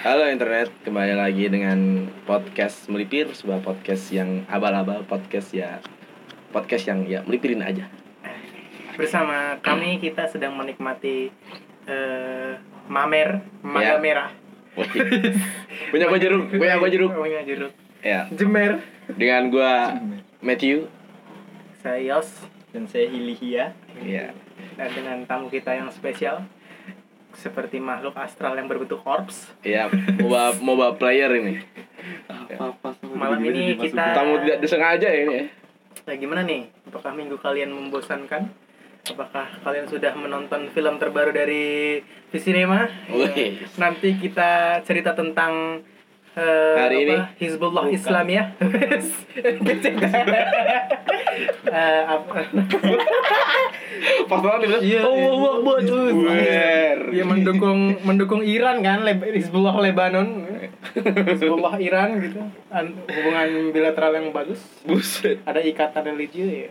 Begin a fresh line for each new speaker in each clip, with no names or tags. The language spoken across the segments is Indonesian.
Halo internet, kembali lagi dengan podcast melipir, sebuah podcast yang abal-abal, podcast ya podcast yang ya melipirin aja.
Bersama kami kita sedang menikmati eh, mamer,
Ya.
mangga merah.
punya gua jeruk, punya gua jeruk.
Punya jeruk.
Ya,
Jemer.
dengan gua Matthew.
Saya Yos Iya.
dan saya Hilihia
Ya.
dan dengan tamu kita yang spesial seperti makhluk astral yang berbentuk orbs.
Ya, moba moba player ini.
apa
Malam ini kita
Tamu tidak disengaja ini ya.
Nah, gimana nih? Apakah minggu kalian membosankan? Apakah kalian sudah menonton film terbaru dari Visinema?
Wih.
Nanti kita cerita tentang eh,
Hari ini?
Hizbullah
Bukan.
Islam ya. Eh, apa-
Pas banget dibilang,
Iya,
Allah Akbar. Wer.
Dia mendukung mendukung Iran kan, Leb- Hizbullah Lebanon. Hizbullah Iran gitu. An- hubungan bilateral yang bagus.
Buset.
Ada ikatan religius ya.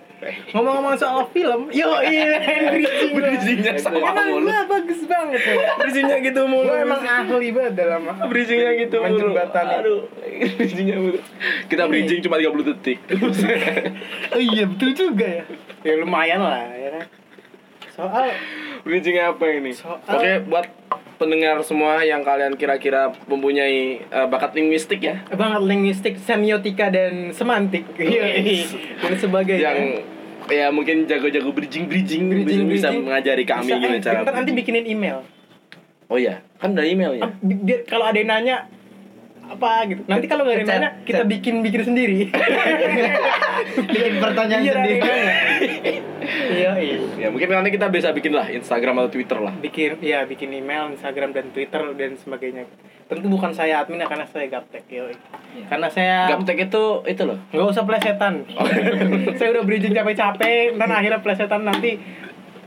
Ngomong-ngomong soal film, yo iya bridging gua.
Bridgingnya sama
Emang
mulu.
gua bagus banget ya.
Bridgingnya gitu mulu.
Gua emang ahli banget dalam
bridgingnya gitu mulu.
Menjembatani.
Aduh, bridgingnya mulu. Kita bridging cuma 30 detik.
Oh iya betul juga ya. Ya lumayan lah ya kan. Soal
Bridging apa ini?
Soal-
Oke, buat pendengar semua yang kalian kira-kira mempunyai eh, bakat linguistik ya,
banget linguistik, semiotika dan semantik. Yoi. Iya. dan sebagainya.
yang ya mungkin jago-jago bridging bridging,
Bridging,
bisa
bridging.
mengajari kami
Bisa,
gimana
eh,
cara.
bentar, nanti
bridging.
bikinin email.
Oh ya, kan udah email ya.
Ah, bi- biar kalau ada yang nanya apa gitu. Nanti kalau nggak ada yang
Chat,
nanya, kita
chat.
bikin bikin sendiri.
bikin pertanyaan
Biar ada
sendiri
yang nanya. Iya, iya.
Ya mungkin nanti kita bisa bikin lah Instagram atau Twitter lah.
Bikin ya bikin email, Instagram dan Twitter dan sebagainya. Tentu bukan saya admin ya, karena saya gaptek, yo. Karena saya
Iya. Gaptek Oh. itu itu loh.
nggak usah plesetan. saya udah bridging capek-capek, dan akhirnya plesetan nanti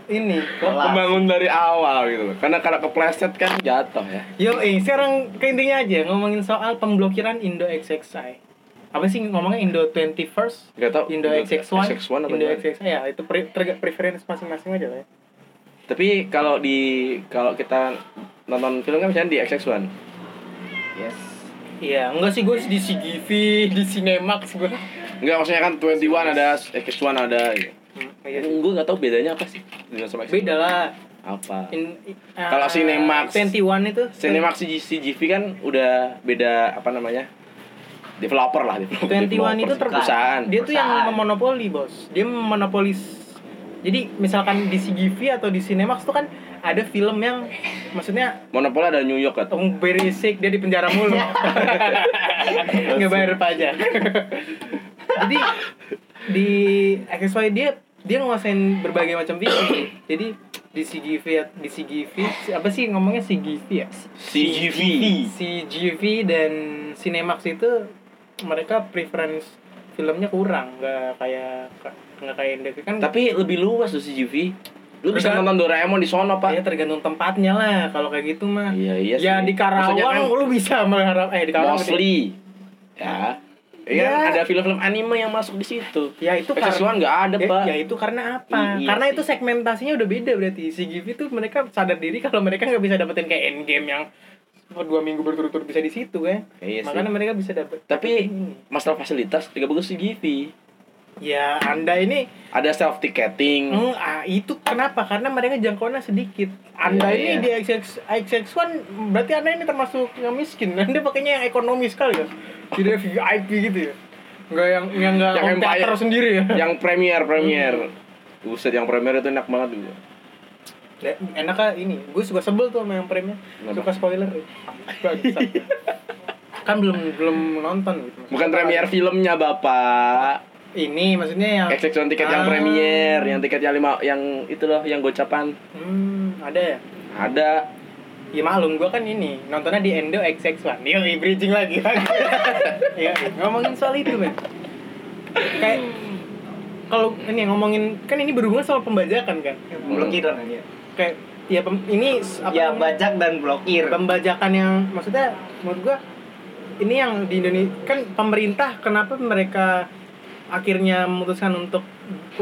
ini.
Kelar.
Membangun dari awal gitu loh. Karena kalau kepleset kan jatuh ya.
Yo, eh, sekarang ke intinya aja ngomongin soal pemblokiran Indo XXI. Apa sih ngomongnya Indo 21st?
Gak tau.
Indo XX1,
XX1 apa
Indo
gimana?
XX1 ya itu pre- ter- preferensi masing-masing aja lah ya.
Tapi kalau di kalau kita nonton film kan misalnya di XX1.
yes
Iya, enggak sih gue di CGV, di Cinemax gue.
Enggak maksudnya kan 21 ada X1 ada gitu.
iya sih.
Gue gak tau bedanya apa sih dengan sama X1.
Beda lah.
Apa?
In- i- ah,
Kalau Cinemax.
21 itu
Cinemax CG CGV kan udah beda apa namanya? Developer lah, developer.
21 itu
developer,
terbuka.
perusahaan.
Dia tuh yang
Perusahaan.
memonopoli, Bos. Dia monopolis. Jadi misalkan di CGV atau di Cinemax tuh kan ada film yang maksudnya
Monopoli ada New York kan.
Tong berisik dia di penjara mulu. Nggak bayar pajak. Jadi di XY dia dia nguasain berbagai macam film. Jadi di CGV ya- di CGV si- apa sih ngomongnya CGV ya?
CGV.
CGV dan Cinemax itu mereka preference filmnya kurang, nggak kayak nggak kayak Indo kan.
Tapi lebih luas tuh CGV. Lu bisa
Perusahaan.
nonton Doraemon di sono,
ya
Pak.
tergantung tempatnya lah kalau kayak gitu mah.
Iya, iya
ya
sih.
di Karawang
Maksudnya kan-
lu bisa mengharap eh di Karawang sih.
Mostly. Ya. Iya,
Ya.
ada film-film anime yang masuk di situ.
Ya itu
Kesesuaian nggak ada,
ya,
Pak.
ya itu karena apa?
Iya
karena
sih.
itu segmentasinya udah beda berarti. Si Givi tuh mereka sadar diri kalau mereka nggak bisa dapetin kayak Endgame yang dua minggu berturut-turut bisa di situ kan.
Iya sih.
Makanya mereka bisa dapet.
Tapi
ini.
masalah fasilitas juga bagus CGV.
ya Anda ini
Ada self ticketing.
hmm, ah, itu kenapa? Karena mereka jangkauannya sedikit. Anda
Iya,
ini di XX XX1 berarti Anda ini termasuk yang miskin. Anda pakainya yang ekonomis sekali ya. Tidak VIP gitu ya. Enggak yang yang enggak
Yang
yang teater
empire.
sendiri ya.
yang premier premier buset yang premier itu enak banget dulu
Ya, enaknya ini gue suka sebel tuh sama yang premnya
Kenapa?
suka spoiler Bangsat. kan belum belum nonton gitu
bukan premier filmnya bapak
ini maksudnya yang
XX1 tiket yang
Ah.
premier yang tiketnya lima yang itu loh yang gocapan
hmm ada ya
ada
ya maklum gue kan ini nontonnya di Endo XX1 yo bridging lagi Iya, ngomongin soal itu men kayak kalau ini ngomongin kan ini berhubungan sama pembajakan kan
blokiran aja
kayak ya pem- ini s- apa
ya
namanya?
bajak dan blokir
pembajakan yang maksudnya menurut gua ini yang di Indonesia kan pemerintah kenapa mereka akhirnya memutuskan untuk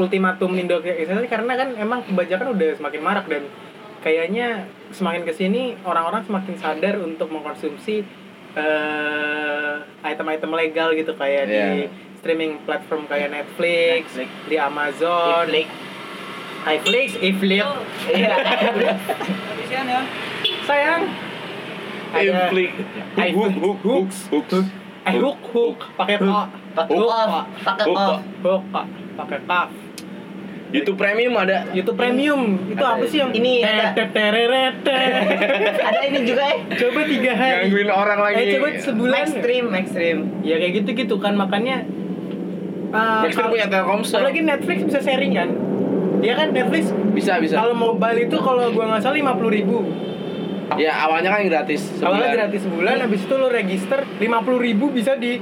ultimatum Indo XXI karena kan emang kebajakan udah semakin marak dan kayaknya semakin kesini orang-orang semakin sadar untuk mengkonsumsi eh, item-item legal gitu kayak
Iya.
di streaming platform kayak Netflix,
Netflix.
di Amazon,
Netflix.
iFlix, iFlix,
Iya.
sayang. Ada
Inflict.
iPhone.
Hook, hook, hook, hook.
eh hook hook pakai
Hook.
ko,
Pakai
Oh.
off, pakai
Oh.
off.
hook Pak. pakai kaf.
YouTube Premium ada.
YouTube Premium itu
Ada
apa sih yang
ini, ada.
Tet, tereret, tet.
Ada ini juga eh.
coba tiga hari
Gangguin orang lagi.
eh coba sebulan
Extreme, extreme.
ya kayak gitu gitu kan makanya eh,
Nextream punya Telkomsel.
apalagi Netflix bisa sharing kan dia kan Netflix
Bisa, bisa.
kalau mobile itu kalau gua nggak salah lima puluh ribu
Ya awalnya kan gratis.
awalnya
sebulan.
gratis sebulan habis itu lo register lima puluh ribu bisa di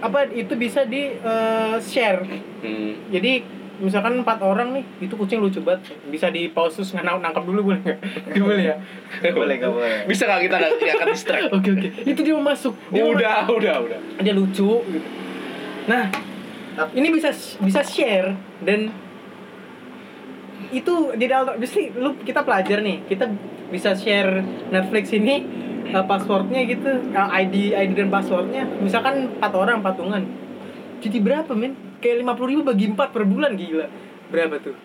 apa itu bisa di eh, share
Hmm.
jadi misalkan empat orang nih itu kucing lucu banget bisa di pause terus nang- nangkap dulu boleh nggak Itu boleh ya
Boleh gak boleh?
Bisa nggak kita nggak nggak akan distract?
oke oke itu dia mau masuk dia mau
udah, udah, udah.
dia lucu gitu. Nah, ini bisa bisa share dan itu di dalam justru lu kita pelajar nih, kita bisa share Netflix ini uh, passwordnya gitu, uh, ID ID dan passwordnya. Misalkan empat orang patungan, jadi berapa men? Kayak lima ribu bagi empat per bulan gila, berapa tuh?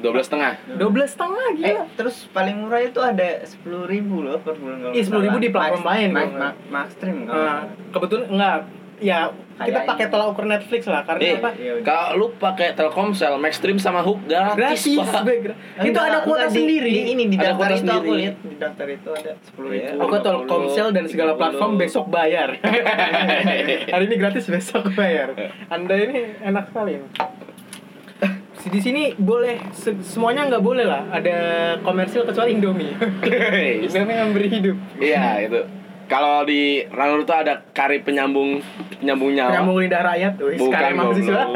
Dua belas setengah.
Dua belas setengah
Eh,
gila.
terus paling murah itu ada sepuluh ribu loh per bulan kalau
Iya, 10.000 di platform lain,
Max,
kalau
Max, Max Stream kalau nggak
Nah,
salah.
kebetulan enggak, ya kita
Kayaknya.
pakai tolak ukur Netflix lah karena
Eh,
apa?
Iya, udah.
Kalau lu pakai Telkomsel, Maxstream sama Hook gratis,
Gratis,
Pak.
Be, gra- itu
Enggak,
ada kuota
enggak, di-
sendiri.
di- ini di
Ada
daftar
kuota
itu aku
sendiri.
lihat di daftar itu ada sepuluh ribu.
Iya.
Aku Telkomsel dan segala platform besok bayar. Hari ini gratis besok bayar. Anda ini enak sekali. Di sini boleh se- semuanya nggak boleh lah. Ada komersil kecuali Indomie. Indomie memberi hidup.
Iya, itu. Kalau di Ranur tuh ada kari penyambung penyambung nyawa.
Nyambung lidah rakyat tuh.
Bukan,
Sekarang mahasiswa.
goblok.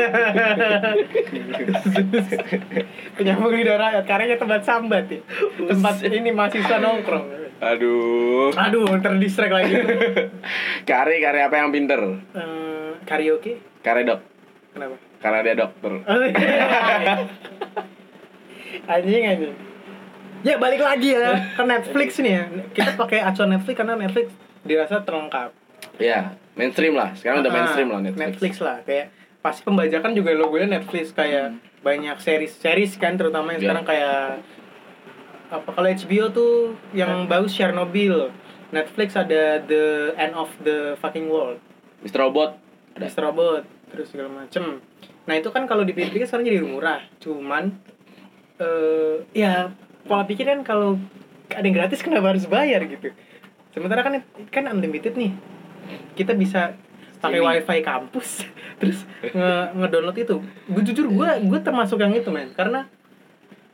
Penyambung lidah rakyat. Karena tempat sambat ya. Tempat ini mahasiswa nongkrong.
Aduh.
Aduh, terdistract lagi.
Kari kari apa yang pinter?
Eh, karaoke?
Kari dok.
Kenapa?
Karena dia dokter.
anjing anjing ya balik lagi ya ke Netflix nih ya kita pakai acuan Netflix karena Netflix dirasa terlengkap
Iya, mainstream lah. Sekarang udah
Ah,
mainstream lah Netflix.
Netflix lah kayak pasti pembajakan juga logonya Netflix kayak banyak series series kan
Hmm.
terutama yang
Iya.
sekarang kayak apa kalau HBO tuh
Eh.
yang bagus Chernobyl Netflix ada The End of the Fucking World
Mr. Robot. Ada.
Mr. Robot terus segala macem nah itu kan kalau dipikir-pikir sekarang jadi murah cuman eh ya pola pikir kan kalau ada yang gratis kenapa harus bayar gitu sementara kan kan unlimited nih kita bisa pakai
Streaming.
wifi kampus terus nge ngedownload itu gue jujur gue gue termasuk yang itu men karena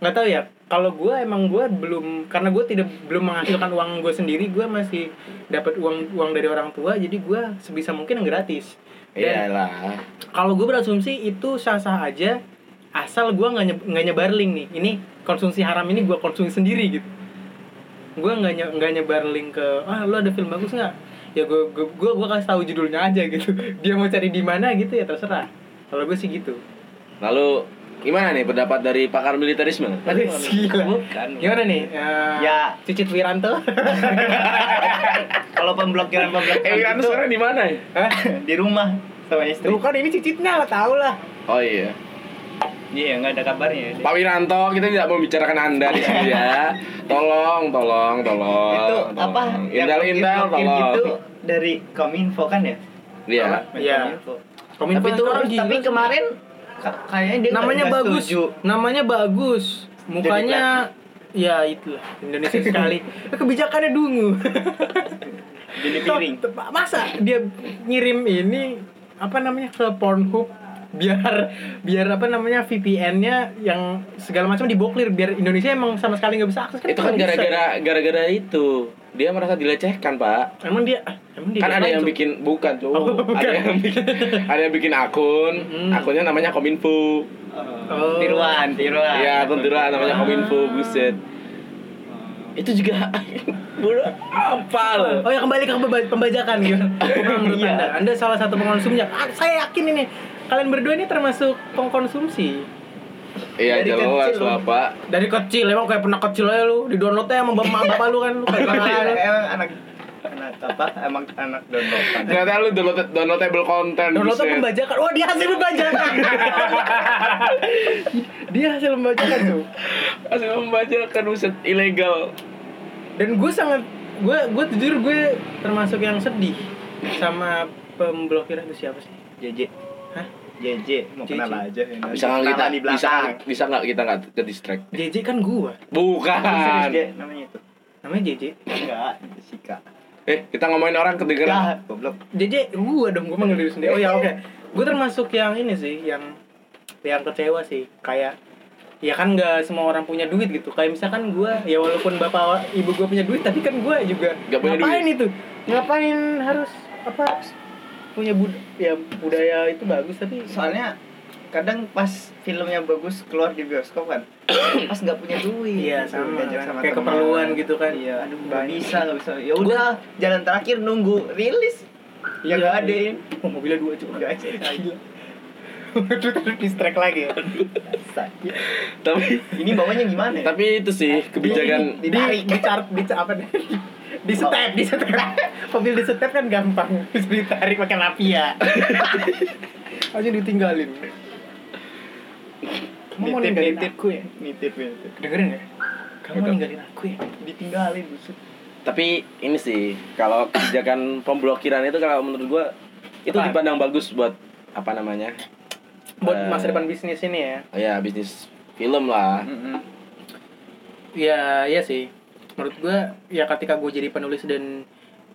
nggak tahu ya kalau gue emang gue belum karena gue tidak belum menghasilkan uang gue sendiri gue masih dapat uang uang dari orang tua jadi gue sebisa mungkin yang gratis
Iya,
dan
Iyalah.
kalau gue berasumsi itu sah-sah aja asal gue nggak nye- nggak nyebar link nih ini konsumsi haram ini gue konsumsi sendiri gitu gue nggak nye- nggak nyebar link ke ah lu ada film bagus nggak ya gue gue gue gue kasih tahu judulnya aja gitu dia mau cari di mana gitu ya terserah kalau gue sih gitu
Lalu gimana nih pendapat dari pakar militerisme?
Aduh, gila.
Bukan.
gimana nih Eh,
Ya.
cicit Wiranto
Kalau pemblokiran
Eh,
iya,
pemblokiran
Gitu.
Wiranto sekarang di mana ya?
Hah?
di rumah sama istri.
kan Tuh kan ini cicitnya lah tau lah
Oh iya.
Iya, nggak ada kabarnya.
Pak Wiranto, kita tidak membicarakan Anda di sini ya. Tolong, tolong, tolong.
itu
tolong.
apa? yang
Intel, Intel,
blokir-blokir
tolong.
gitu dari Kominfo kan ya?
Iya.
Iya.
Kominfo.
Kominfo
tapi itu
sekarang gila
tapi
sih.
kemarin ka- kayaknya dia
namanya
nggak
bagus
setuju.
namanya bagus mukanya ya itulah Indonesia sekali kebijakannya dungu
jadi piring
Tep- tep- masa dia ngirim ini apa namanya ke Pornhub biar biar apa namanya VPN-nya yang segala macam diblokir biar Indonesia emang sama sekali nggak bisa akses
Itu kan
bisa.
gara-gara gara-gara itu. Dia merasa dilecehkan, Pak.
emang dia ah, emang dia
Kan ada yang
diancam.
bikin bukan, tuh.
Oh, bukan.
Ada yang bikin ada yang bikin akun.
Hmm.
Akunnya namanya Kominfo.
Oh.
tiruan tiruan Ah.
Iya, akun tiruan namanya
Ah.
Kominfo, buset. Itu juga bodoh apa loh?
Oh ya kembali ke pemba- pembajakan gitu. Bukan menurut
Iya.
Anda. Anda salah satu pengkonsumnya. Ah, saya yakin ini kalian berdua ini termasuk pengkonsumsi.
Iya,
Dari
jelas
kecil.
lah Pak.
Dari kecil emang kayak pernah kecil aja lu, di downloadnya sama bapak bapak lu kan lu kayak
Emang
pernah.
emang anak anak apa? Emang anak downloadan.
Ternyata lu download downloadable content.
Downloadnya
buset.
membajakan. Wah, dia hasil membajakan. dia hasil membajakan tuh.
Asal membajakan buset ilegal.
dan gue sangat gue gue jujur gue termasuk yang sedih sama pemblokiran itu siapa sih
JJ.
Hah?
JJ mau
JJ.
kenal aja. ya, nanti.
Bisa nggak kita
Kenalan di
bisa
belakang.
bisa nggak kita nggak ke distract?
JJ kan gue
Serius
Bukan.
dia namanya itu.
namanya JJ
Enggak, Jessica.
Eh, kita ngomongin orang kedengeran.
Ah, goblok.
JJ gue dong gue manggil diri sendiri oh ya oke gue termasuk yang ini sih yang yang kecewa sih kayak ya kan nggak semua orang punya duit gitu kayak misalkan gue ya walaupun bapak ibu gue punya duit tapi kan gue juga
Nggak punya
ngapain itu ngapain harus apa punya bud ya budaya itu bagus tapi
Soalnya kadang pas filmnya bagus keluar di bioskop kan pas nggak punya duit
Iya,
gitu,
sama
diajak
kan. Kayak keperluan gitu kan.
iya aduh nggak
Banyak.
bisa nggak bisa ya udah jalan terakhir nunggu rilis ya nggak ada ya
oh, mobilnya dua cuma
nggak ada ya.
Gila. Terus terus distract lagi. ya?
Sakit.
Tapi
ini bawanya gimana ya?
tapi itu sih kebijakan
di di chart di apa nih? Di step, di step. Mobil di step kan gampang. Terus ditarik pakai lapia. Aja ditinggalin. Kamu mau
Nitip,
ninggalin
nitip.
aku ya?
nitip nitip
Dengerin ya? Kamu mau
Udah.
ninggalin aku ya?
ditinggalin busuk
tapi ini sih kalau kebijakan pemblokiran itu kalau menurut gua itu
Apa?
dipandang bagus buat apa namanya? Eh,
Buat masa depan bisnis ini ya.
Ya bisnis film lah.
Ya, iya sih. Menurut gue, ya ketika gue jadi penulis dan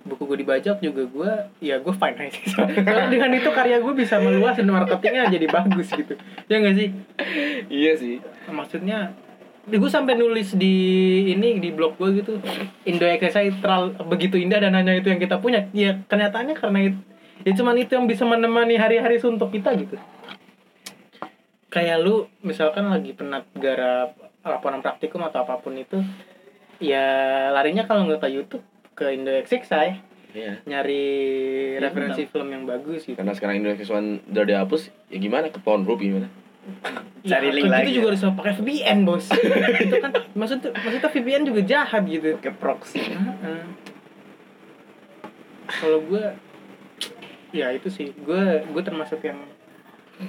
buku gue dibajak juga gue, ya gue fine aja. sih. Soalnya dengan itu karya gue bisa meluas dan marketingnya jadi bagus gitu. Ya nggak sih?
iya sih.
Maksudnya, gue sampai nulis di ini di blog gue gitu. Indo saya terlalu begitu indah dan hanya itu yang kita punya. Ya kenyataannya karena itu, ya cuman itu yang bisa menemani hari-hari suntuk kita gitu. Kayak lu misalkan lagi penat gara laporan praktikum atau apapun itu, ya larinya kalau nggak ke YouTube ke Indo saya
Iya.
nyari
Iya,
referensi film yang bagus gitu.
Karena sekarang Indonesia One udah dihapus, ya gimana ke Pornhub gimana?
Cari
Iya,
link
itu
lagi. ya.
juga harus pakai VPN bos itu kan maksud maksudnya VPN juga jahat gitu
pakai proxy
Heeh. kalau gue ya itu sih gue gue termasuk yang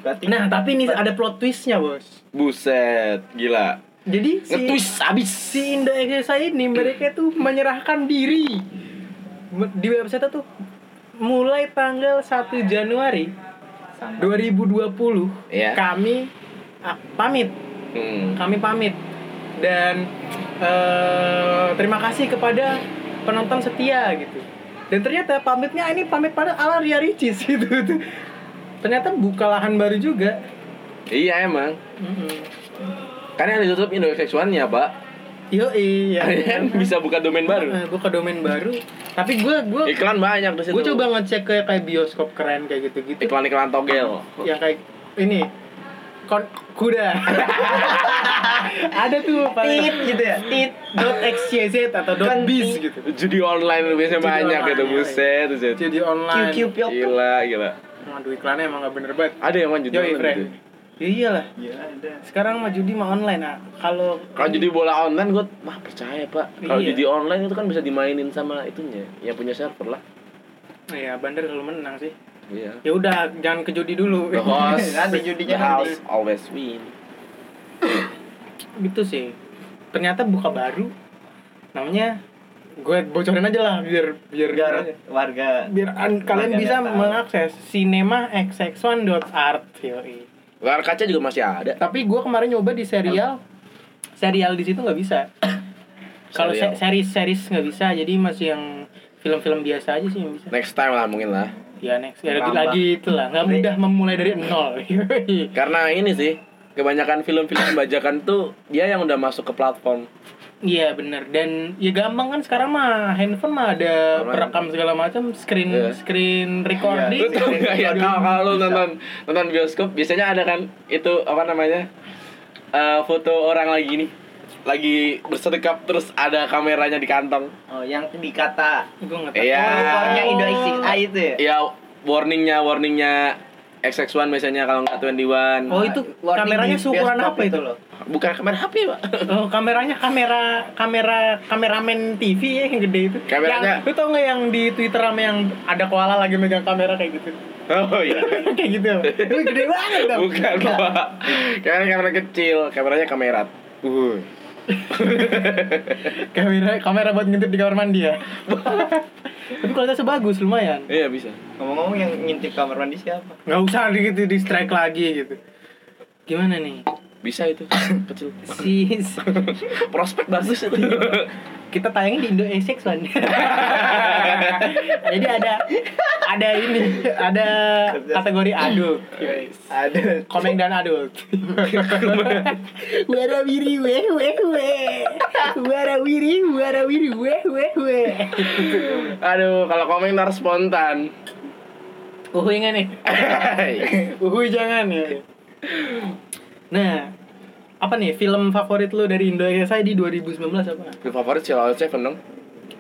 berarti
nah tapi ini ada plot twistnya bos
Buset, gila.
jadi si
Ngetwist abis.
si Indo Exesa ini mereka tuh menyerahkan diri di website tuh mulai tanggal 1 Januari
sama
2020
Iya.
kami ah, pamit
Hmm.
kami pamit dan eh, terima kasih kepada penonton setia gitu dan ternyata pamitnya ini pamit pada ala Ria Ricis gitu ternyata buka lahan baru juga
Iya emang. Karena yang ditutup Indonesia One-nya, Pak.
yo iya
Kalian bisa buka domain baru.
Eh, gua ke domain baru tapi gue gue
Iklan banyak di situ.
gue coba ngecek kayak kayak bioskop keren kayak gitu gitu
iklan-iklan togel.
yang kayak ini kon kuda ada tuh
tit gitu ya tit
dot xyz atau dot biz gitu
Kan Judi online biasanya
Judi
banyak
online,
gitu,
iya.
buset, buset.
jadi online Iya.
QQ piok
Gila, gila.
Waduh iklannya emang gak bener banget
Ada yang main judi
Yoi,
online
Fre.
gitu.
Ya iyalah
ya ada
Sekarang mah judi mah online nah Kalau
Kalau judi bola online gue mah percaya pak. Kalau
Iya.
judi online itu kan bisa dimainin sama itunya, yang punya server lah.
Ya bandar selalu menang sih
Iya.
Ya udah jangan ke judi dulu
The host,
Nanti judinya
the house always win.
Gitu sih Ternyata buka baru Namanya Gue bocorin aja lah biar biar
biar warga
biar an- kalian
Warganya
bisa
tahu.
mengakses cinema xx1.art yoi.
Layar kaca juga masih ada.
Tapi gue kemarin nyoba di serial serial di situ nggak bisa. Kalau
Serial.
series series nggak bisa, jadi masih yang film-film biasa aja sih yang bisa.
Next time lah mungkin lah.
Ya next ya, lagi,
Nambah.
lagi itulah nggak mudah memulai dari nol.
Karena ini sih kebanyakan film-film bajakan tuh dia yang udah masuk ke platform.
Iya bener dan ya gampang kan sekarang mah handphone mah ada
Online.
perekam segala macam screen
Iya.
screen
Lu
recording.
tau nggak ya kalau kalau lu nonton nonton bioskop biasanya ada kan itu apa namanya eh, foto orang lagi nih lagi bersedekap terus ada kameranya di kantong.
oh yang dikata
Gue nggak tahu.
Iya.
warnanya
Oh.
Indo XXI itu ya
Ya Iya, warningnya warningnya XX1 misalnya kalau nggak 21
iya.
Oh, itu
Warning
kameranya
di
seukuran
bioskop
apa itu?
loh?
bukan kamera HP pak
Oh, kameranya kamera kamera kameramen TV ya yang gede itu.
Kameranya-
Yang, lu tau nggak yang di Twitter sama yang ada koala lagi megang kamera kayak gitu?
oh iya
kayak gitu. Itu gede banget dong.
bukan pak kamera kamera kecil kameranya kamera uh
Kamera kamera buat ngintip di kamar mandi ya. Tapi kualitasnya bagus lumayan.
iya bisa
Ngomong-ngomong yang ngintip kamar mandi siapa?
Nggak usah di, di, di strike lagi gitu. Gimana nih?
bisa itu kecil
Si, si-
prospek bagus itu
kita tayangin di Indo Essex Wan. Jadi ada ada ini, ada kategori adult.
Ada
Komeng dan adult. Warawiri weh weh weh. Warawiri warawiri weh weh weh.
aduh kalau komentar spontan
Uhuy nggak Uhuh, nih? Uhuy jangan ya. Nah, apa nih film favorit lu dari Indo saya di 2019 apa?
Film favorit sih Lawan Seven dong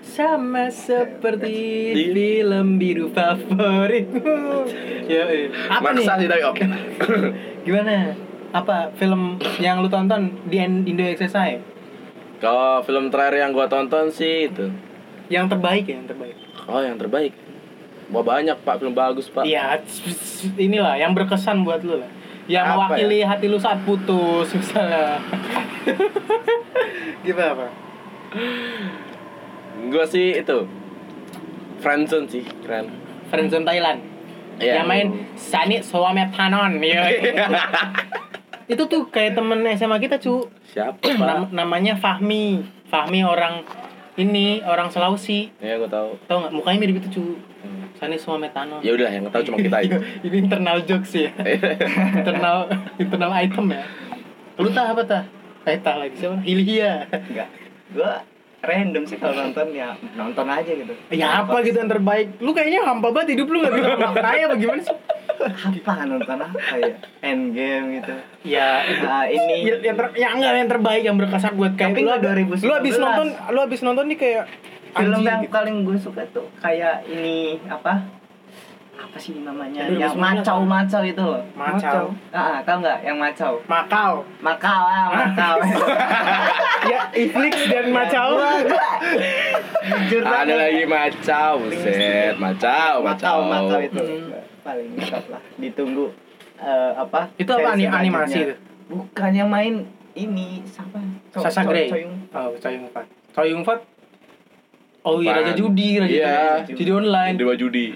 Sama seperti film biru favoritmu. Ya, apa nih?
Maksa sih tapi oke
Gimana? Apa film yang lu tonton di Indo XSI?
Kalau film terakhir yang gua tonton sih itu
Yang terbaik ya, yang terbaik.
Oh yang terbaik Wah banyak pak, film bagus pak
Iya, inilah yang berkesan buat lu lah. Yang
Apa ya?
mewakili hati lu saat putus misalnya. Gimana, Pak?
Gua sih itu Friendzone sih, keren
Friendzone Thailand.
Iya.
Yang main Sani Soametanon. Itu tuh kayak temen SMA kita, cu.
Siapa pak?
Nam- namanya Fahmi. Fahmi orang ini, orang Sulawesi.
Iya gua tahu.
Tau nggak? Mukanya mirip itu, cu. Sani Soametanon.
Ya udah yang tahu cuma kita aja
ini internal jokes ya. internal internal item ya. Lu tah apa tah? Eh tah lagi siapa? Ilhia.
enggak. Gua random sih kalau nonton ya nonton aja gitu.
Ya apa gitu yang terbaik? Lu kayaknya hampa banget hidup lu gak bisa makan aja apa gimana sih?
Apa nonton apa ya? Endgame gitu.
Ya,
Nah, ini
yang, yang ter, ya enggak yang terbaik yang berkesan buat kayak
Tapi
lu
nggak 2019.
lu abis nonton lu abis nonton nih kayak
film
anjing
yang
gitu.
paling gue suka tuh kayak ini apa? Apa sih namanya?
Aduh,
yang
semuanya tahu.
macau-macau itu loh.
Macau.
Ah, ah, tau nggak yang macau?
Makau
Makau ah, makau.
ya Iflix dan Macau
Gua- gua- Jujur
Ada
banget.
lagi macau, set macau,
Macau,
macau.
Macau itu
Hmm.
paling top lah. Ditunggu eh, apa?
Itu apa,
seri
ani- animasi
selanjutnya.
itu?
Bukan yang main ini siapa? Co-
Sasa
Co-
Grey
Choyung.
oh Choi Yun Fat Choi Yun Fat oh iya
Apaan?
Raja Judi Raja
Iya.
Judi Judi online
Dewa judi.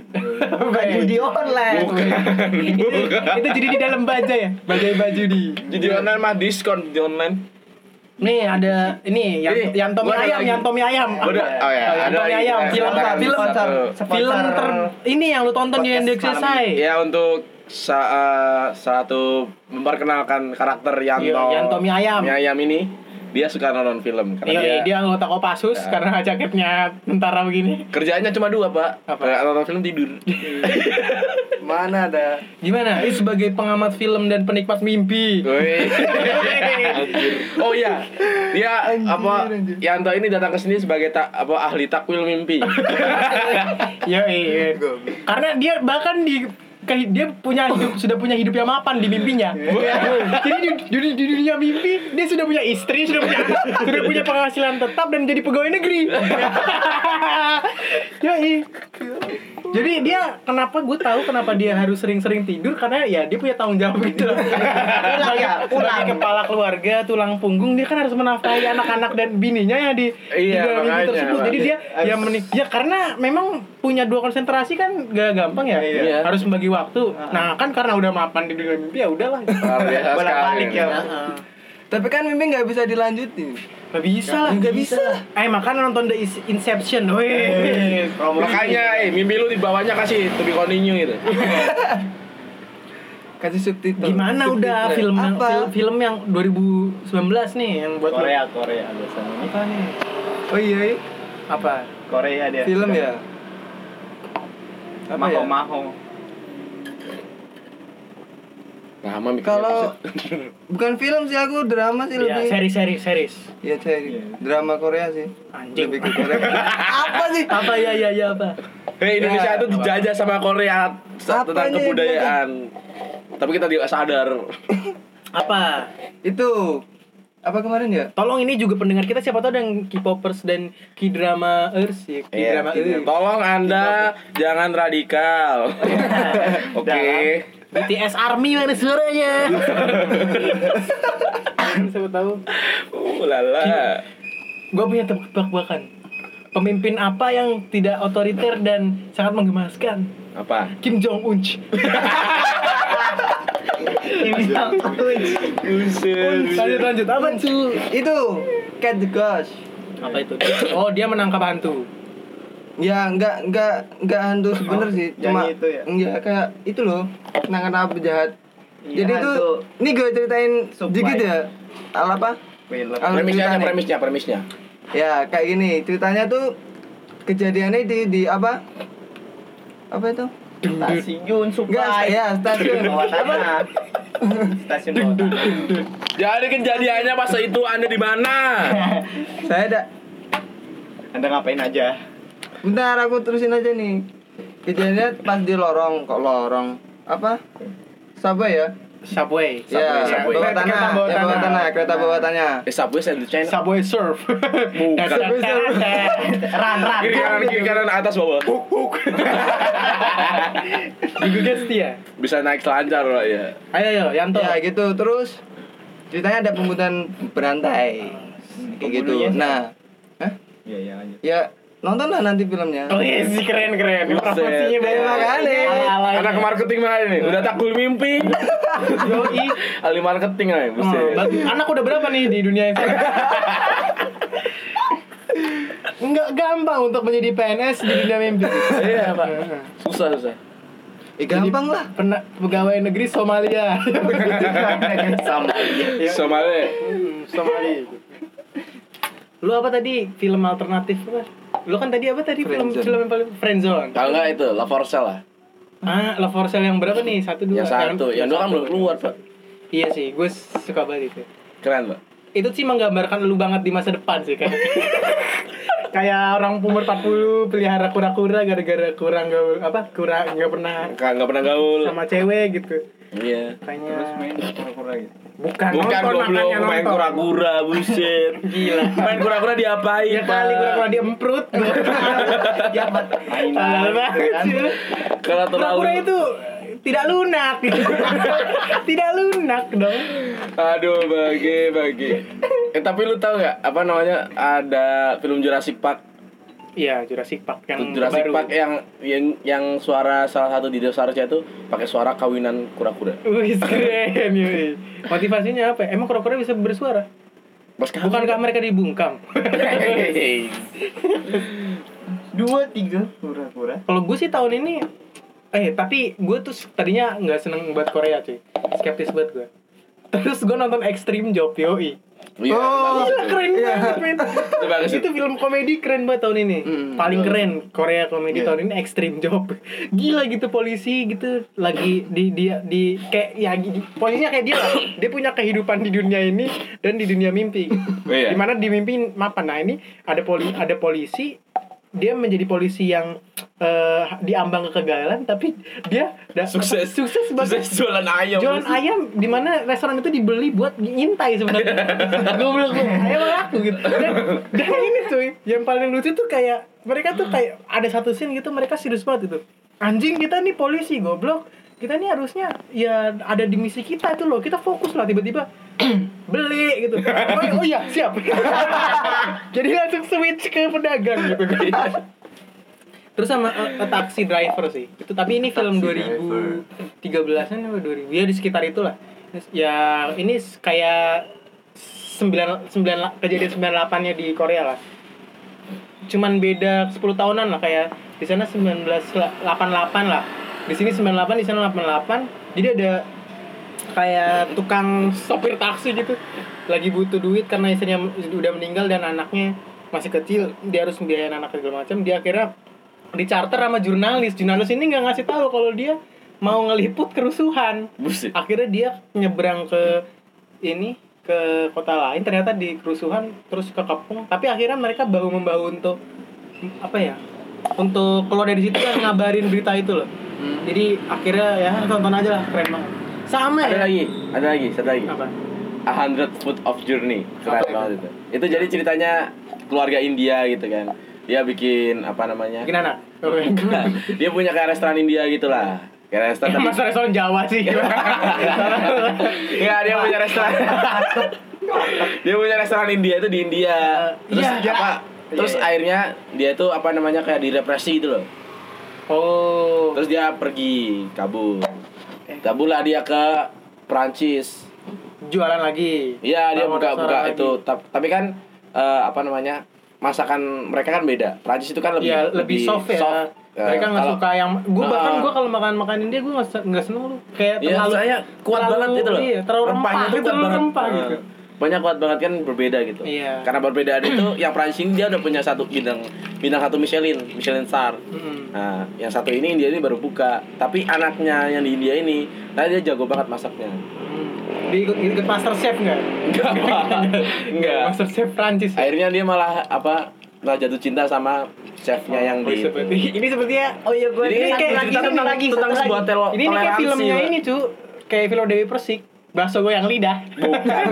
Bukan judi online.
Bukan.
itu, itu jadi di dalam baja ya baja baju di
Judi online mah diskon judi online.
nih ada ini yang
Ini,
yang Tommy
gua ada
ayam
lagi.
yang Tommy ayam
Gua ada- oh ya,
Oh, yang
ada
Tommy
lagi.
ayam
Eh,
film
sebentar,
film
sebentar.
film ter ini yang lu tonton di
Podcast
Index
malam
selesai
Ya untuk sa- eh, satu memperkenalkan karakter Yanto.
Iya, Yanto mie ayam.
Mie ayam ini dia suka nonton film karena
Iya,
dia,
dia anggota Kopassus
Ya.
karena jaketnya tentara begini.
kerjaannya cuma dua pak.
Apa?
Eh, Nonton film tidur.
Mana ada?
Gimana? Ini sebagai pengamat film dan penikmat mimpi.
Woi. oh iya, dia
Anjir,
apa
anjir.
Yanto ini datang ke sini sebagai tak apa ahli takwil mimpi.
Yo, iya. Karena dia bahkan di ke- dia punya hidup sudah punya hidup yang mapan di mimpinya. Jadi di, di- di dunia mimpi dia sudah punya istri, sudah punya sudah punya penghasilan tetap dan jadi pegawai negeri. Yo, Jadi dia kenapa gue tahu kenapa dia harus sering-sering tidur karena ya dia punya tanggung jawab gitu loh.
Ulang ya,
sebagai,
ulang.
sebagai kepala keluarga, tulang punggung dia kan harus menafkahi anak-anak dan bininya yang di, di
Iya,
dalam mimpi
makanya,
tersebut. Jadi
makanya.
dia ya menik ya karena memang punya dua konsentrasi kan gak gampang ya
Iya.
harus membagi waktu
Ah.
nah kan karena udah mapan di dunia mimpi ya udahlah
Luar biasa
Bolak
sekali.
balik ya.
Tapi kan mimpi nggak bisa dilanjutin.
nggak bisa lah
Nggak bisa. Eh, iya,
eh makanya nonton The Is- Inception weh
Makanya, eh mimpi lu di bawahnya kasih to be continue gitu.
Kasih subtitle.
gimana
Subtitle.
udah film yang
apa?
fil- film yang 2019 nih yang buat lo-
Korea, Korea biasanya.
Apa nih? Oh iya, iya.
apa
Korea dia.
film ya. Apa
Maho
ya?
Maho.
Nah, mami
Kalau bukan film sih aku drama
ya
sih lebih.
series series series
Iya, seri.
Iya.
Drama Korea sih.
anjing
Lebih ke Korea. apa sih?
Iya, apa ya ya ya apa
Hei, Eh, Indonesia
Ya,
itu dijajah sama Korea saat
Apanya
tentang
yang
kebudayaan. Tapi kita tidak sadar.
Apa?
Itu apa kemarin ya?
Tolong ini juga pendengar kita siapa tahu ada yang K-popers dan K-drama ers ya, K-drama ers.
Tolong Anda jangan radikal. Oke.
BTS Army mana suaranya? siapa tahu.
Uh, lala.
Gue punya tebak-tebakan. Pemimpin apa yang tidak otoriter dan sangat menggemaskan?
Apa?
Kim Jong Un.
Dibilang
Lanjut lanjut apa tuh?
Itu Cat the Ghost.
Apa itu? Oh dia menangkap hantu.
Ya nggak nggak nggak hantu sebener sih, cuma
jadi itu ya?
nggak kayak itu loh nangan apa jahat.
Iya,
Jadi itu
hantu.
ini gue ceritain
Supply.
dikit ya. Al apa?
film.
Al
Premisnya,
ceritanya.
premisnya, premisnya.
Ya kayak gini ceritanya tuh kejadiannya di di apa? Apa itu?
Stasiun
Enggak,
Supai.
ya stasiun.
Bawah tanah. Stasiun bawah tanah.
Jadi kejadiannya pas itu Anda di mana?
Saya ada
Anda ngapain aja?
Bentar aku terusin aja nih. Kejadiannya pas di lorong kok lorong apa? Sabah ya?
Subway.
Ya,
Subway.
bawah tanah,
Kereta bawah
ya, bawah
tanah.
tanah, kereta bawah tanah.
Eh, Subway sandwich China.
Subway surf.
Bukan.
Ran ran.
Kiri kanan, kiri kanan, atas bawah.
Digugat ya. setia.
Bisa naik selancar Pak, ya.
Ayo ayo Yanto.
Ya gitu terus ceritanya ada pembunuhan berantai kayak gitu.
ya.
Pembunuhnya
Nah,
Iya iya lanjut.
ya nontonlah nanti filmnya.
Wih, Oh, iya sih keren keren.
Buset.
Promosinya banyak
Makanya.
Ala-alanya.
Anak marketing mana ini? Udah takul mimpi.
Yoi.
Ahli marketing aja, buset.
Hmm, bagus. Anak udah berapa nih di dunia ini? Enggak gampang untuk menjadi PNS di dunia mimpi.
Iya, Pak. Susah, susah.
Eh, gampang lah.
Pernah pegawai negeri Somalia.
Sama.
Iya. Somalia.
Somalia. Lu apa tadi film alternatif apa? Lu kan tadi apa tadi film
Friendzone.
film yang paling Friendzone.
Kalau nggak itu Love for Sale lah.
Ah, Love for Sale yang berapa nih? Satu dua.
Yang satu, yang dua kan
satu.
belum keluar, Pak.
Iya sih, gue suka banget itu.
Keren, Pak.
itu sih menggambarkan lu banget di masa depan sih kayak kayak orang umur 40 pelihara kura-kura gara-gara kurang gaul apa kurang nggak pernah
Nggak nggak pernah gaul.
sama cewek gitu
Iya.
kayaknya
Terus main kura-kura gitu.
bukan
Bukan
nonton
goblok
makanya
main
nonton.
kura-kura, buset.
Gila.
Main kura-kura diapain,
ya kali kura-kura
Pak?
dia emprut ya
Mainan,
parah banget
gitu kan.
sih.
Kalau terlalu
kura-kura itu tidak lunak tidak lunak dong
Aduh, bagi, bagi. Eh, tapi lu tahu nggak apa namanya ada film Jurassic Park?
iya Jurassic Park yang
Jurassic
baru
Park ya? yang yang yang suara salah satu dinosaurusnya itu pakai suara kawinan kura-kura.
Wih keren yoi. Motivasinya apa? Emang kura-kura bisa bersuara?
Mas
Bukankah mereka dibungkam?
Dua tiga kura-kura.
Kalau gue sih tahun ini Eh tapi gue tuh tadinya nggak seneng buat Korea cuy Skeptis banget gue Terus gue nonton Extreme Job yoi
Iya,
Oh.
bagus
Gila
itu.
keren banget men
Itu bagus
Itu film komedi keren banget tahun ini
Hmm,
Paling
betul.
keren Korea komedi
Iya.
tahun ini Extreme Job Gila gitu polisi gitu Lagi di dia di Kayak ya di- Polisinya kayak dia lah Dia punya kehidupan di dunia ini Dan di dunia mimpi
Iya.
Dimana di mimpi mapan Nah ini ada, poli, ada polisi dia menjadi polisi yang eh, diambang kegagalan tapi dia da-
Sukses.
sukses
Terus
banget
jualan ayam.
jualan ayam di mana restoran itu dibeli buat ngintai sebenarnya gue bilang ayam laku gitu dan, dan ini cuy yang paling lucu tuh kayak mereka tuh kayak ada satu scene gitu mereka serius banget gitu anjing kita nih polisi goblok kita nih harusnya ya ada di misi kita itu loh kita fokus lah tiba-tiba beli gitu oh, iya- oh iya siap jadi langsung switch ke pedagang gitu Terus sama eh, eh, taksi driver sih. Itu tapi ini film
Taxi Driver.
2013-an atau 2000. Ya di sekitar itulah. Ya ini s- kayak 9 9 kejadian 98-nya di Korea lah. Cuman beda 10 tahunan lah kayak di sana 1988 lah. Di sini 98, di sana 88. Jadi ada kayak tukang sopir taksi gitu lagi butuh duit karena istrinya udah meninggal dan anaknya masih kecil dia harus membiayain anak segala macam dia akhirnya di charter sama jurnalis jurnalis ini nggak ngasih tahu kalau dia mau ngeliput kerusuhan
Buset.
akhirnya dia nyebrang ke ini ke kota lain ternyata di kerusuhan terus ke kampung tapi akhirnya mereka bahu membahu untuk apa ya untuk keluar dari situ kan ngabarin berita itu loh.
Hmm.
Jadi akhirnya ya tonton aja lah keren banget. Sama
Ada
ya.
lagi, ada lagi, satu lagi.
Apa?
A Hundred Foot of Journey keren
Apa itu?
banget itu. Itu jadi ceritanya keluarga India gitu kan. Dia bikin apa namanya?
Bikin anak.
Nah, dia punya kayak restoran India gitu lah. Kayak restoran tapi
Masa restoran Jawa sih.
Enggak, Iya, dia punya restoran. dia punya restoran India itu di India. Terus
Iya, iya.
apa? Terus
Iya, iya.
akhirnya dia itu apa namanya kayak direpresi gitu loh.
oh.
Terus dia pergi kabur.
Eh.
Kabur lah dia ke Prancis.
Jualan lagi.
Iya, dia
Bangun
buka-buka
restoran
itu. Ta- Tapi kan eh, apa namanya? Masakan mereka kan beda. Prancis itu kan lebih
Iya, lebih, soft ya.
Eh,
Mereka nggak
kalau-
suka yang gue bahkan
Nah.
gue kalau makan makanan dia gue nggak se- nggak seneng lu kayak
Iya,
ya, terlalu
saya kuat
terlalu-
banget gitu loh.
Iya, terlalu
Rempahnya
rempah,
tuh
itu terlalu rempah
Eh,
gitu.
Banyak kuat banget kan berbeda gitu.
Iya.
Karena perbedaan itu yang Prancis ini dia udah punya satu bidang bintang satu Michelin, Michelin star.
Mm-mm.
Nah, yang satu ini India ini baru buka, tapi anaknya yang di India ini, nah dia jago banget masaknya.
Hmm. Dia ikut, ikut master chef nggak?
Enggak, enggak.
Master chef Prancis. ya?
Akhirnya dia malah apa? Malah jatuh cinta sama chefnya yang
Oh,
di
seperti, ini sepertinya
Oh iya gue
Jadi ini kayak
lagi
cerita
satu
tentang-
lagi
tentang
satu lagi.
sebuah telo-
ini, ini kayak
toleransi
filmnya
lah.
ini cu kayak film Dewi Persik bakso goyang lidah.
Bukan.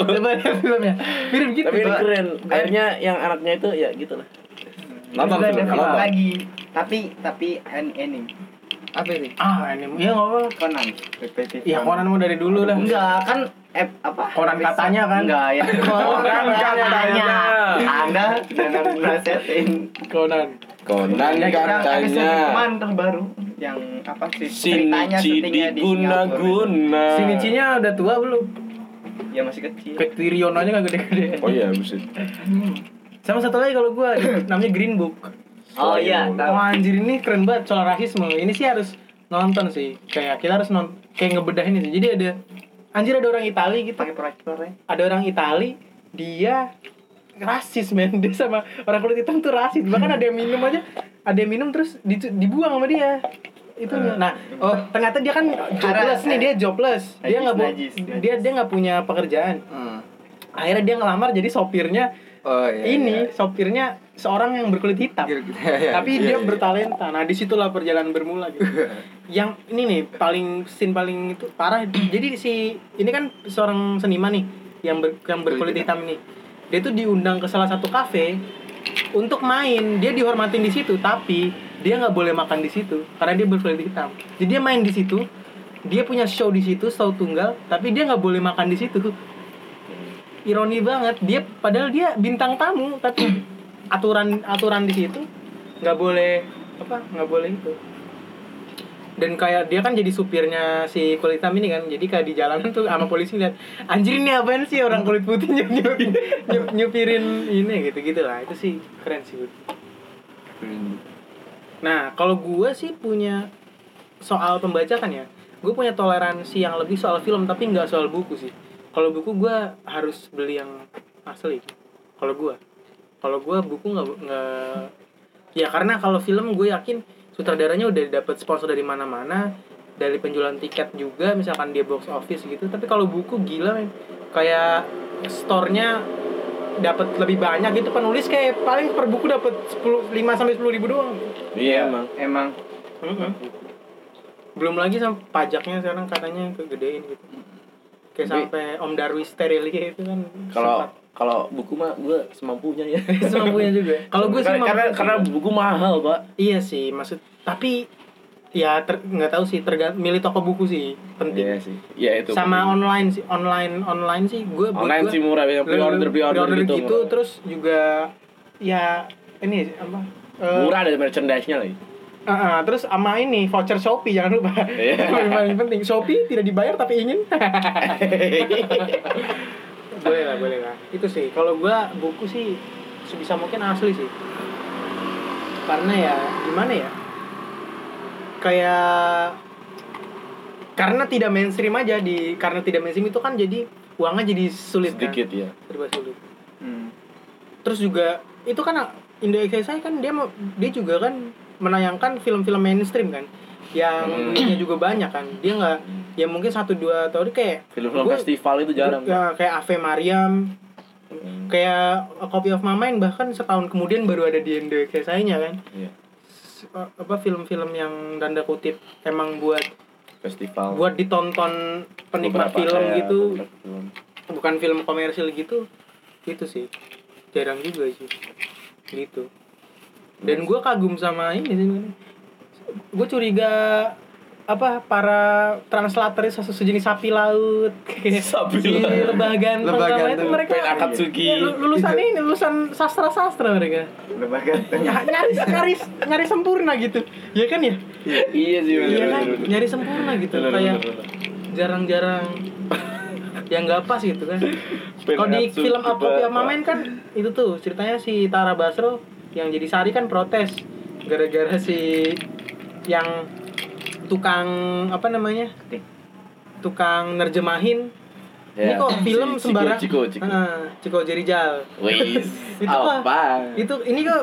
Coba lihat filmnya. Mirip gitu.
tapi ini keren. Akhirnya yang anaknya itu ya gitu lah. Nonton
Ada
film,
film
nonton.
lagi. Tapi tapi an anime.
Apa sih?
Ah, ini ya nggak apa.
Conan. Detektif
Ya Conan mau dari dulu lah.
Enggak kan eh, apa?
Conan katanya kan?
Enggak ya.
Conan katanya.
Anda jangan melesetin.
Conan.
Konan
Yang- yang
katanya.
episode kemarin terbaru yang apa sih ceritanya
Sinichi
syutingnya di Singapura.
diguna-guna.
Shinichi-nya udah tua belum?
Ya masih kecil.
Ketiriono nya nggak gede-gede.
Oh iya, buset.
Sama satu lagi kalau gua namanya Green Book.
Oh iya,
Selain-
tahu.
Wah anjir ini keren banget soal rasisme. Ini sih harus nonton sih. Kayak kita harus non kayak ngebedahin itu. Jadi ada anjir ada orang Italia gitu.
pakai proyektor ya.
Ada orang Italia dia rasis men dia sama orang kulit hitam tuh rasis bahkan ada yang minum aja ada yang minum terus di- dibuang sama dia itu
Hmm.
nah oh ternyata dia kan jobless nih dia jobless dia nggak bu-
Najis, najis.
dia dia nggak punya pekerjaan
Hmm.
akhirnya dia ngelamar jadi sopirnya
Oh iya.
ini
iya.
sopirnya seorang yang berkulit hitam
Gila, iya, iya,
tapi
iya,
dia
iya.
bertalenta nah disitulah perjalanan bermula gitu yang ini nih paling scene paling itu parah jadi si ini kan seorang seniman nih yang ber- yang berkulit hitam ini dia tuh diundang ke salah satu kafe untuk main dia dihormatin di situ tapi dia nggak boleh makan di situ karena dia berkulit hitam jadi dia main di situ dia punya show di situ show tunggal tapi dia nggak boleh makan di situ ironi banget dia padahal dia bintang tamu tapi aturan aturan di situ nggak boleh apa nggak boleh itu dan kayak dia kan jadi supirnya si kulit hitam ini kan jadi kayak di jalanan tuh sama polisi lihat anjir ini apaan sih orang kulit putih nyup nyup, nyup- nyupirin ini gitu gitu lah itu sih keren sih Bud. nah kalau gue sih punya soal pembacakan ya gue punya toleransi yang lebih soal film tapi nggak soal buku sih kalau buku gue harus beli yang asli kalau gue kalau gue buku nggak nggak ya karena kalau film gue yakin sutradaranya udah dapat sponsor dari mana-mana dari penjualan tiket juga misalkan dia box office gitu tapi kalau buku gila men kayak store-nya dapat lebih banyak gitu penulis kayak paling per buku dapat 10 5 sampai 10 ribu doang
Iya, emang.
Emang
belum lagi sama pajaknya sekarang katanya kegedein gitu
Tapi-
kayak sampai Om Darwis Steriliga itu kan
Kalau kalau buku mah gue semampunya ya.
sempat. semampunya juga kalau gue sih
karena, karena,
mampu.
karena buku mahal, Pak.
Iya sih, maksud tapi ya ter- nggak tahu sih tergantung milih toko buku sih penting.
sih. Iya itu.
Sama online sih, online online sih gue buat
online
gua
sih murah yang
lebih-
pre-order pre-order
pre-order
gitu. murah.
terus juga ya ini apa? eh,
murah dari merchandise-nya lagi.
ah, ah, terus sama ini voucher Shopee jangan lupa.
Iya.
Yang paling penting Shopee tidak dibayar tapi ingin. boleh lah, boleh lah. Itu sih kalau gua buku sih sebisa mungkin asli sih. Karena ya gimana ya? Kayak karena tidak mainstream aja di karena tidak mainstream itu kan jadi uangnya jadi sulit kan?
Sedikit ya.
Serba sulit
hmm.
terus juga itu kan Indo XXI kan dia mau- dia juga kan menayangkan film-film mainstream kan yang
Hmm.
duitnya juga banyak kan dia nggak ya mungkin satu dua tahun kayak
Film-film
Gua-
festival itu jarang.
ya, kayak Ave Mariam
Hmm,
kayak A Copy of My Mind bahkan setahun kemudian baru ada di Indo XXI nya kan
Iya.
eh, apa film-film yang tanda kutip emang buat
festival
buat ditonton penikmat
Beberapa,
film
ya,
gitu
beberapa film.
bukan film komersil gitu itu sih jarang juga sih gitu dan gue kagum sama ini sih gue curiga apa para translator se- sejenis sapi laut
Sapi
Di
laut.
lebah ganteng,
Lebah
apa itu
ganteng.
mereka
Pen Akatsuki.
ya, lu- lulusan
Itu.
ini lulusan sastra sastra mereka
Lebah ganteng.
Ya, nyaris nyaris nyaris sempurna gitu ya kan ya
Iya sih bener, bener,
iya kan
bener, bener.
nyaris sempurna gitu
Bener,
kayak
bener, bener.
jarang-jarang yang nggak pas gitu kan
Pen
kalau di
Akatsuki
film apa
Bapak.
yang main kan itu tuh ceritanya si Tara Basro yang jadi Sari kan protes gara-gara si yang tukang apa namanya
Ketik.
tukang nerjemahin ini
Ya.
kok
Si-
film
Ciko,
sembarang
Ciko, Ciko.
Ah, Ciko Jerijal
Wis.
Itu
apa?
itu ini kok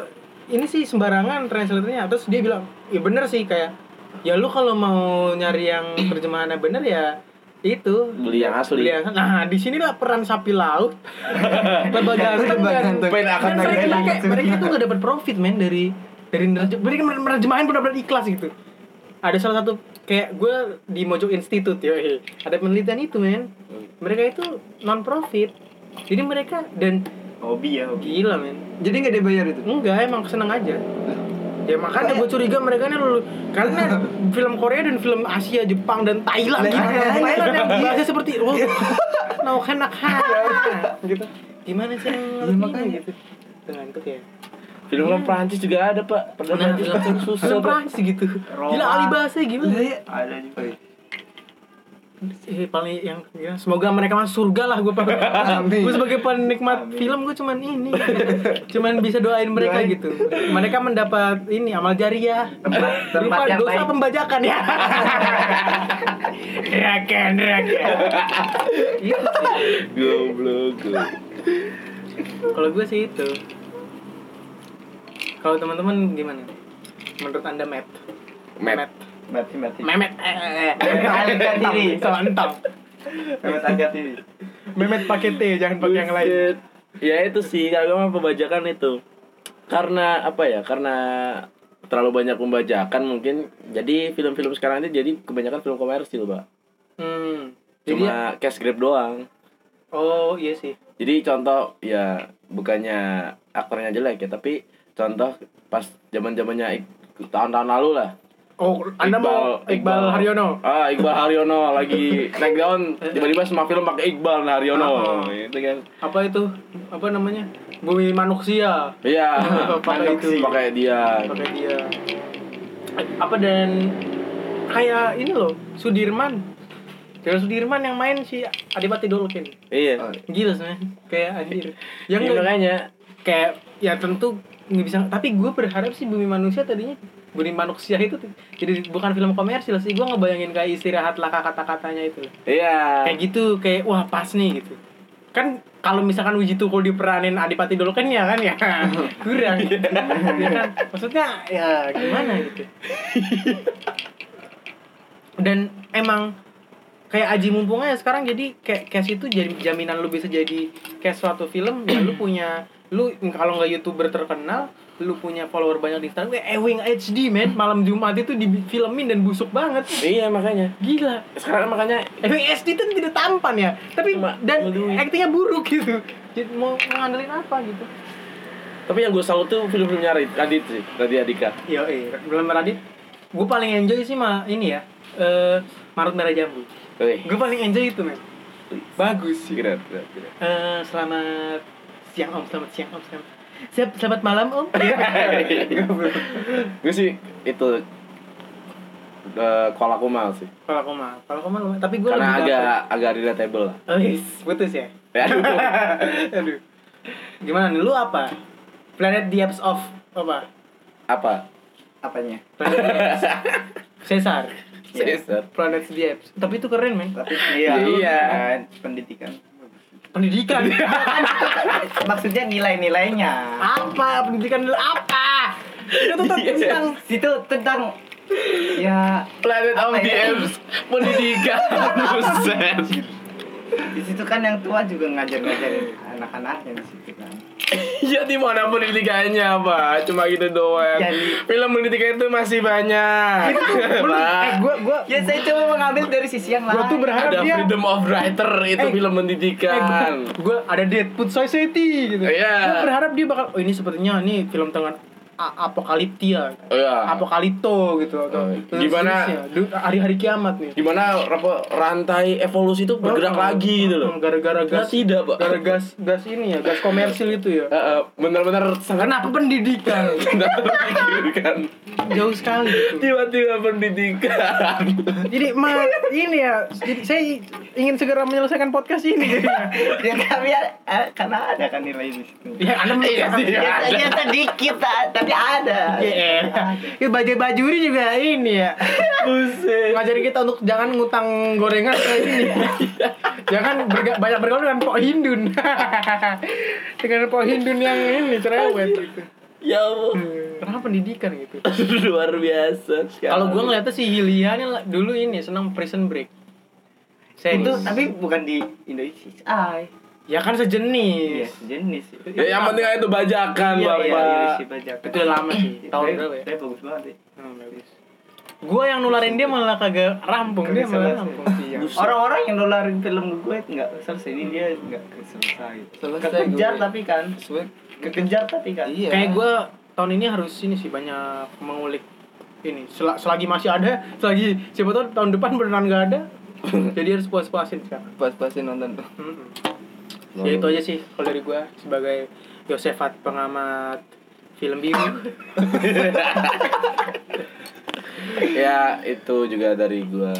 ini sih sembarangan translatornya terus dia bilang ya bener sih kayak ya lu kalau mau nyari yang terjemahannya bener ya itu
Beli yang asli.
Beli yang- nah di sinilah peran sapi laut lebah ganteng
Lebah
dan
ganteng.
Pen
dan
Akatsuki.
mereka, mereka,
Maksudnya.
mereka tuh gak dapat profit men dari dari nerjem- mereka menerjemahin benar-benar ikhlas gitu ada salah satu kayak gue di Mojo Institute ya ada penelitian itu men mereka itu non profit jadi mereka dan
Hobi ya, hobi.
gila men
jadi nggak dibayar itu
Enggak, emang seneng aja. Ya makanya gue curiga mereka nih lulu karena film Korea dan film Asia, Jepang dan Thailand
Nah,
gitu.
makanya.
Thailand yang bahasa seperti oh, no enak gitu. Gimana sih yang
Iya,
ngerti
makanya.
gitu? Ngantuk ya.
Film kan Prancis juga ada, Pak. Pernah
Nah,
Prancis kan
film
susah.
film
Pak.
Prancis gitu. Gila
Roma.
ahli bahasa
Lah,
gimana?
iya.
Ada juga.
Eh, paling yang ya, semoga mereka masuk surga lah gue.
Amin.
gue sebagai penikmat
Amin.
film gue cuman ini. cuman bisa doain mereka
Doain.
gitu. Mereka mendapat ini amal jariah.
Tempat, tempat
Lupa
yang
dosa
baik.
pembajakan ya. Raken, raken. Itu sih.
Goblok. goblok.
Kalau gue sih itu. Kalau teman-teman gimana? Menurut Anda Matt?
Matt.
Mati, mati.
Memet. eh, eh, eh.
Memet alihkan diri.
Salah entang.
Mehmet angkat ini.
Memet pakai T, jangan pakai yang lain.
Buset. Ya itu sih, kalau gue mah pembajakan itu. Karena apa ya? Karena terlalu banyak pembajakan mungkin. Jadi film-film sekarang itu jadi kebanyakan film komersil, Pak.
Hmm. Jadi,
Cuma cash grab doang.
oh iya sih.
Jadi contoh ya bukannya aktornya jelek ya, tapi contoh pas zaman-zamannya Ik- tahun-tahun lalu lah.
Oh, Anda mau Iqbal, Haryono.
Ah, Iqbal Haryono lagi naik down tiba-tiba semua film pakai Iqbal Haryono.
Ah.
Itu kan.
Apa itu? Apa namanya? Bumi manusia.
Iya.
Pakai itu.
pakai dia.
pakai dia Eh, apa dan kayak ini loh Sudirman Jalan Sudirman yang main si Adipati Dolken
Iya.
Oh,
gila sebenarnya kayak anjir yang
Iya, makanya
Ya, kayak ya tentu nggak bisa tapi gue berharap sih Bumi Manusia tadinya Bumi Manusia itu tuh- jadi bukan film komersil sih gue ngebayangin kayak istirahat lah kata-katanya itu
Iya.
kayak gitu kayak wah pas nih gitu kan kalau misalkan Wiji Tukul diperanin Adipati Dolken ya kan ya kurang ya kan maksudnya ya gimana gitu dan emang kayak Aji Mumpungnya sekarang jadi kayak cash itu jadi jaminan lu bisa jadi cash suatu film ya lu punya lu kalau nggak youtuber terkenal lu punya follower banyak di Instagram kayak Ewing HD man malam Jumat itu difilmin dan busuk banget
Iya, makanya.
gila
Sekarang makanya
Emang SD itu tidak tampan ya, tapi
Cuma
dan
ngeluhin.
aktingnya buruk gitu. Jadi mau ngandelin apa gitu?
tapi yang gue salut tuh film-filmnya Radit, Radit sih, Radit Adika.
Iya, iya. Belum Radit. Gue paling enjoy sih mah ini ya. Eh, Marut Merah Jambu.
Oke.
Gue paling enjoy itu, men. Bagus sih.
Keren, keren, keren.
Eh, selamat siang Om, selamat siang Om, selamat. Siap, selamat malam Om. Iya.
Gue sih itu eh Kuala Kumal sih.
Kalau aku mah, kalau aku mah lumayan. tapi gue
Karena agak agak relatable lah.
Oh, yes. putus ya.
Ya, aduh.
Aduh. Gimana nih, lu apa? Planet the Apes of apa?
Apa?
Apanya?
Planet the Apes. Caesar.
Caesar.
Planet the Apes. Tapi itu keren, men.
Tapi iya,
Iya.
kan, pendidikan.
Pendidikan.
Maksudnya nilai-nilainya.
apa? Pendidikan lu apa? Itu tuh tentang
Situ tentang ya
Planet of
Apa
the
ya?
Apes pendidikan buset.
di situ kan yang tua juga ngajar-ngajarin anak-anaknya di situ kan.
Ya dimanapun pendidikannya apa Cuma gitu doang
Jadi-
Film pendidikan itu masih banyak Pak.
eh gue gue
Ya saya coba mengambil dari sisi yang lain.
gue tuh berharap
Ada
dia
Freedom of Writer Itu
Eh,
film pendidikan
gue ada Deadpool Society gitu.
Iya.
Gue berharap dia bakal oh ini sepertinya ini film tentang a- apokaliptia.
Oh, iya.
Apokalipto gitu atau
Oh, gimana-
seterusnya. Du- hari-hari kiamat nih.
Gimana apa, rantai evolusi itu bergerak
Oh,
lagi gitu loh
oh, Gara-gara
Nah,
gas.
tidak, Pak.
Gara gas gas ini ya, gas komersil itu ya.
Eh, eh, Bener-bener sangat
Kenapa pendidikan?
pendidikan
Jauh sekali gitu.
Tiba-tiba pendidikan
Jadi ma ini ya, jadi saya ingin segera menyelesaikan podcast ini. jadinya.
ya kami eh, karena ada kan nilai di situ.
ya Anda
Iya sih,
menurut
iya.
Ya,
ada.
ya sedikit ah, tapi ada.
Ya, bajai bajuri juga ini ya.
Buset
Ngajarin kita untuk jangan ngutang gorengan kayak ini. jangan berga- banyak bergaul dengan Pok Hindun. dengan Pok Hindun yang ini cerewet gitu.
Ya Allah
Kenapa pendidikan gitu?
Luar biasa sekali.
Kalau gua ngeliatnya si Hilia nih la- dulu ini senang prison break. Series.
Itu tapi bukan di Indonesia. Ah,
ya kan
iya,
sejenis.
jenis.
Ya, yang penting aja itu bajakan,
Iya,
Bapak.
iya,
si bajakan.
Itu udah lama sih. Tahun
Tapi-
berapa ya?
Tapi bagus banget sih.
Hmm, bagus. Gua yang nularin dia malah kagak rampung dia malah
Kagak
rampung. Iya.
Orang-orang yang nularin film ke gue nggak selesai ini dia nggak selesai.
Selesai
Kekejar
gue.
tapi kan,
Sweet.
kekejar tapi kan.
Iya.
Kayak gue tahun ini harus ini sih banyak mengulik ini Sel- selagi masih ada selagi siapa tahu tahun depan beneran nggak ada jadi harus puas-puasin sekarang
pas-pasin nonton tuh.
Mm-mm. ya itu aja sih kalau dari gue sebagai Yosefat pengamat film biru
Ya, itu juga dari gua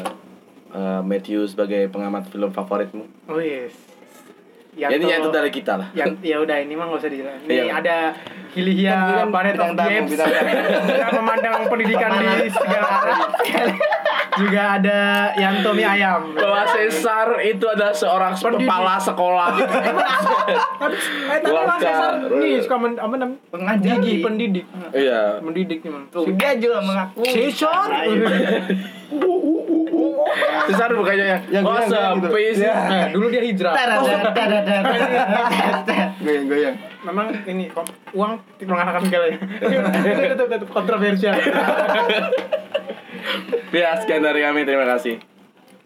Eh, Matthew sebagai pengamat film favoritmu.
oh yes
Jadi ya itu
tolong-
dari kita lah.
yang ya udah ini mah nggak usah dijelasin ini
Iya.
ada Hilihia
Kan
Planet of
bintang tamu,
Games
bintang tamu.
kita memandang pendidikan di segala arah juga ada Yantomi Ayam
Bahwa Caesar itu adalah seorang
Pendidik.
kepala sekolah.
tapi eh, tapi
Luaskan.
Mas Cesar nih suka men, apa namanya
Pengajar
gigi
nih.
pendidik
Iya.
mendidik nih mang
Udah juga mengaku.
Cesar iya.
Caesar bukannya
ya.
yang oh
Yang bilang kayak gitu."
sepi sih.
Ya.
nah, dulu dia hijrah
Goyang-goyang.
memang ini kok uang mengarahkan segalanya itu tetap kontroversial
Ya, sekian Iya, dari kami. Terima kasih.